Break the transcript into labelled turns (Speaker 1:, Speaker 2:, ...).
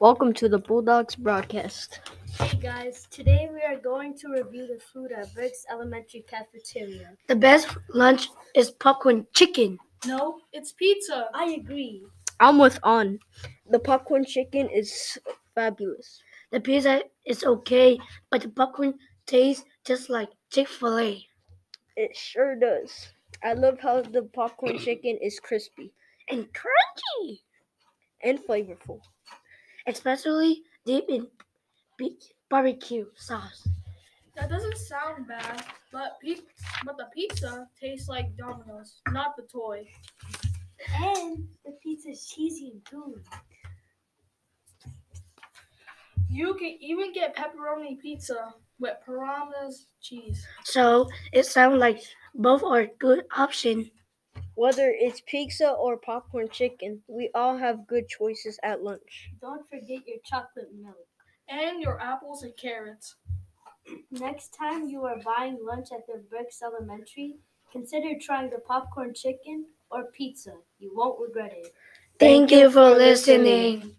Speaker 1: Welcome to the Bulldogs broadcast.
Speaker 2: Hey guys, today we are going to review the food at Briggs Elementary Cafeteria.
Speaker 3: The best lunch is popcorn chicken.
Speaker 4: No, it's pizza.
Speaker 2: I agree.
Speaker 1: I'm with On. The popcorn chicken is fabulous.
Speaker 3: The pizza is okay, but the popcorn tastes just like Chick fil A.
Speaker 1: It sure does. I love how the popcorn chicken is crispy
Speaker 3: And crunchy!
Speaker 1: and flavorful.
Speaker 3: Especially deep in be- barbecue sauce.
Speaker 4: That doesn't sound bad, but pe- but the pizza tastes like Domino's, not the toy.
Speaker 2: And the pizza is cheesy and gooey.
Speaker 4: You can even get pepperoni pizza with piranha's cheese.
Speaker 3: So Oh, it sounds like both are good option.
Speaker 1: Whether it's pizza or popcorn chicken, we all have good choices at lunch.
Speaker 2: Don't forget your chocolate milk.
Speaker 4: And your apples and carrots.
Speaker 2: Next time you are buying lunch at the Briggs Elementary, consider trying the popcorn chicken or pizza. You won't regret it.
Speaker 3: Thank, you for listening.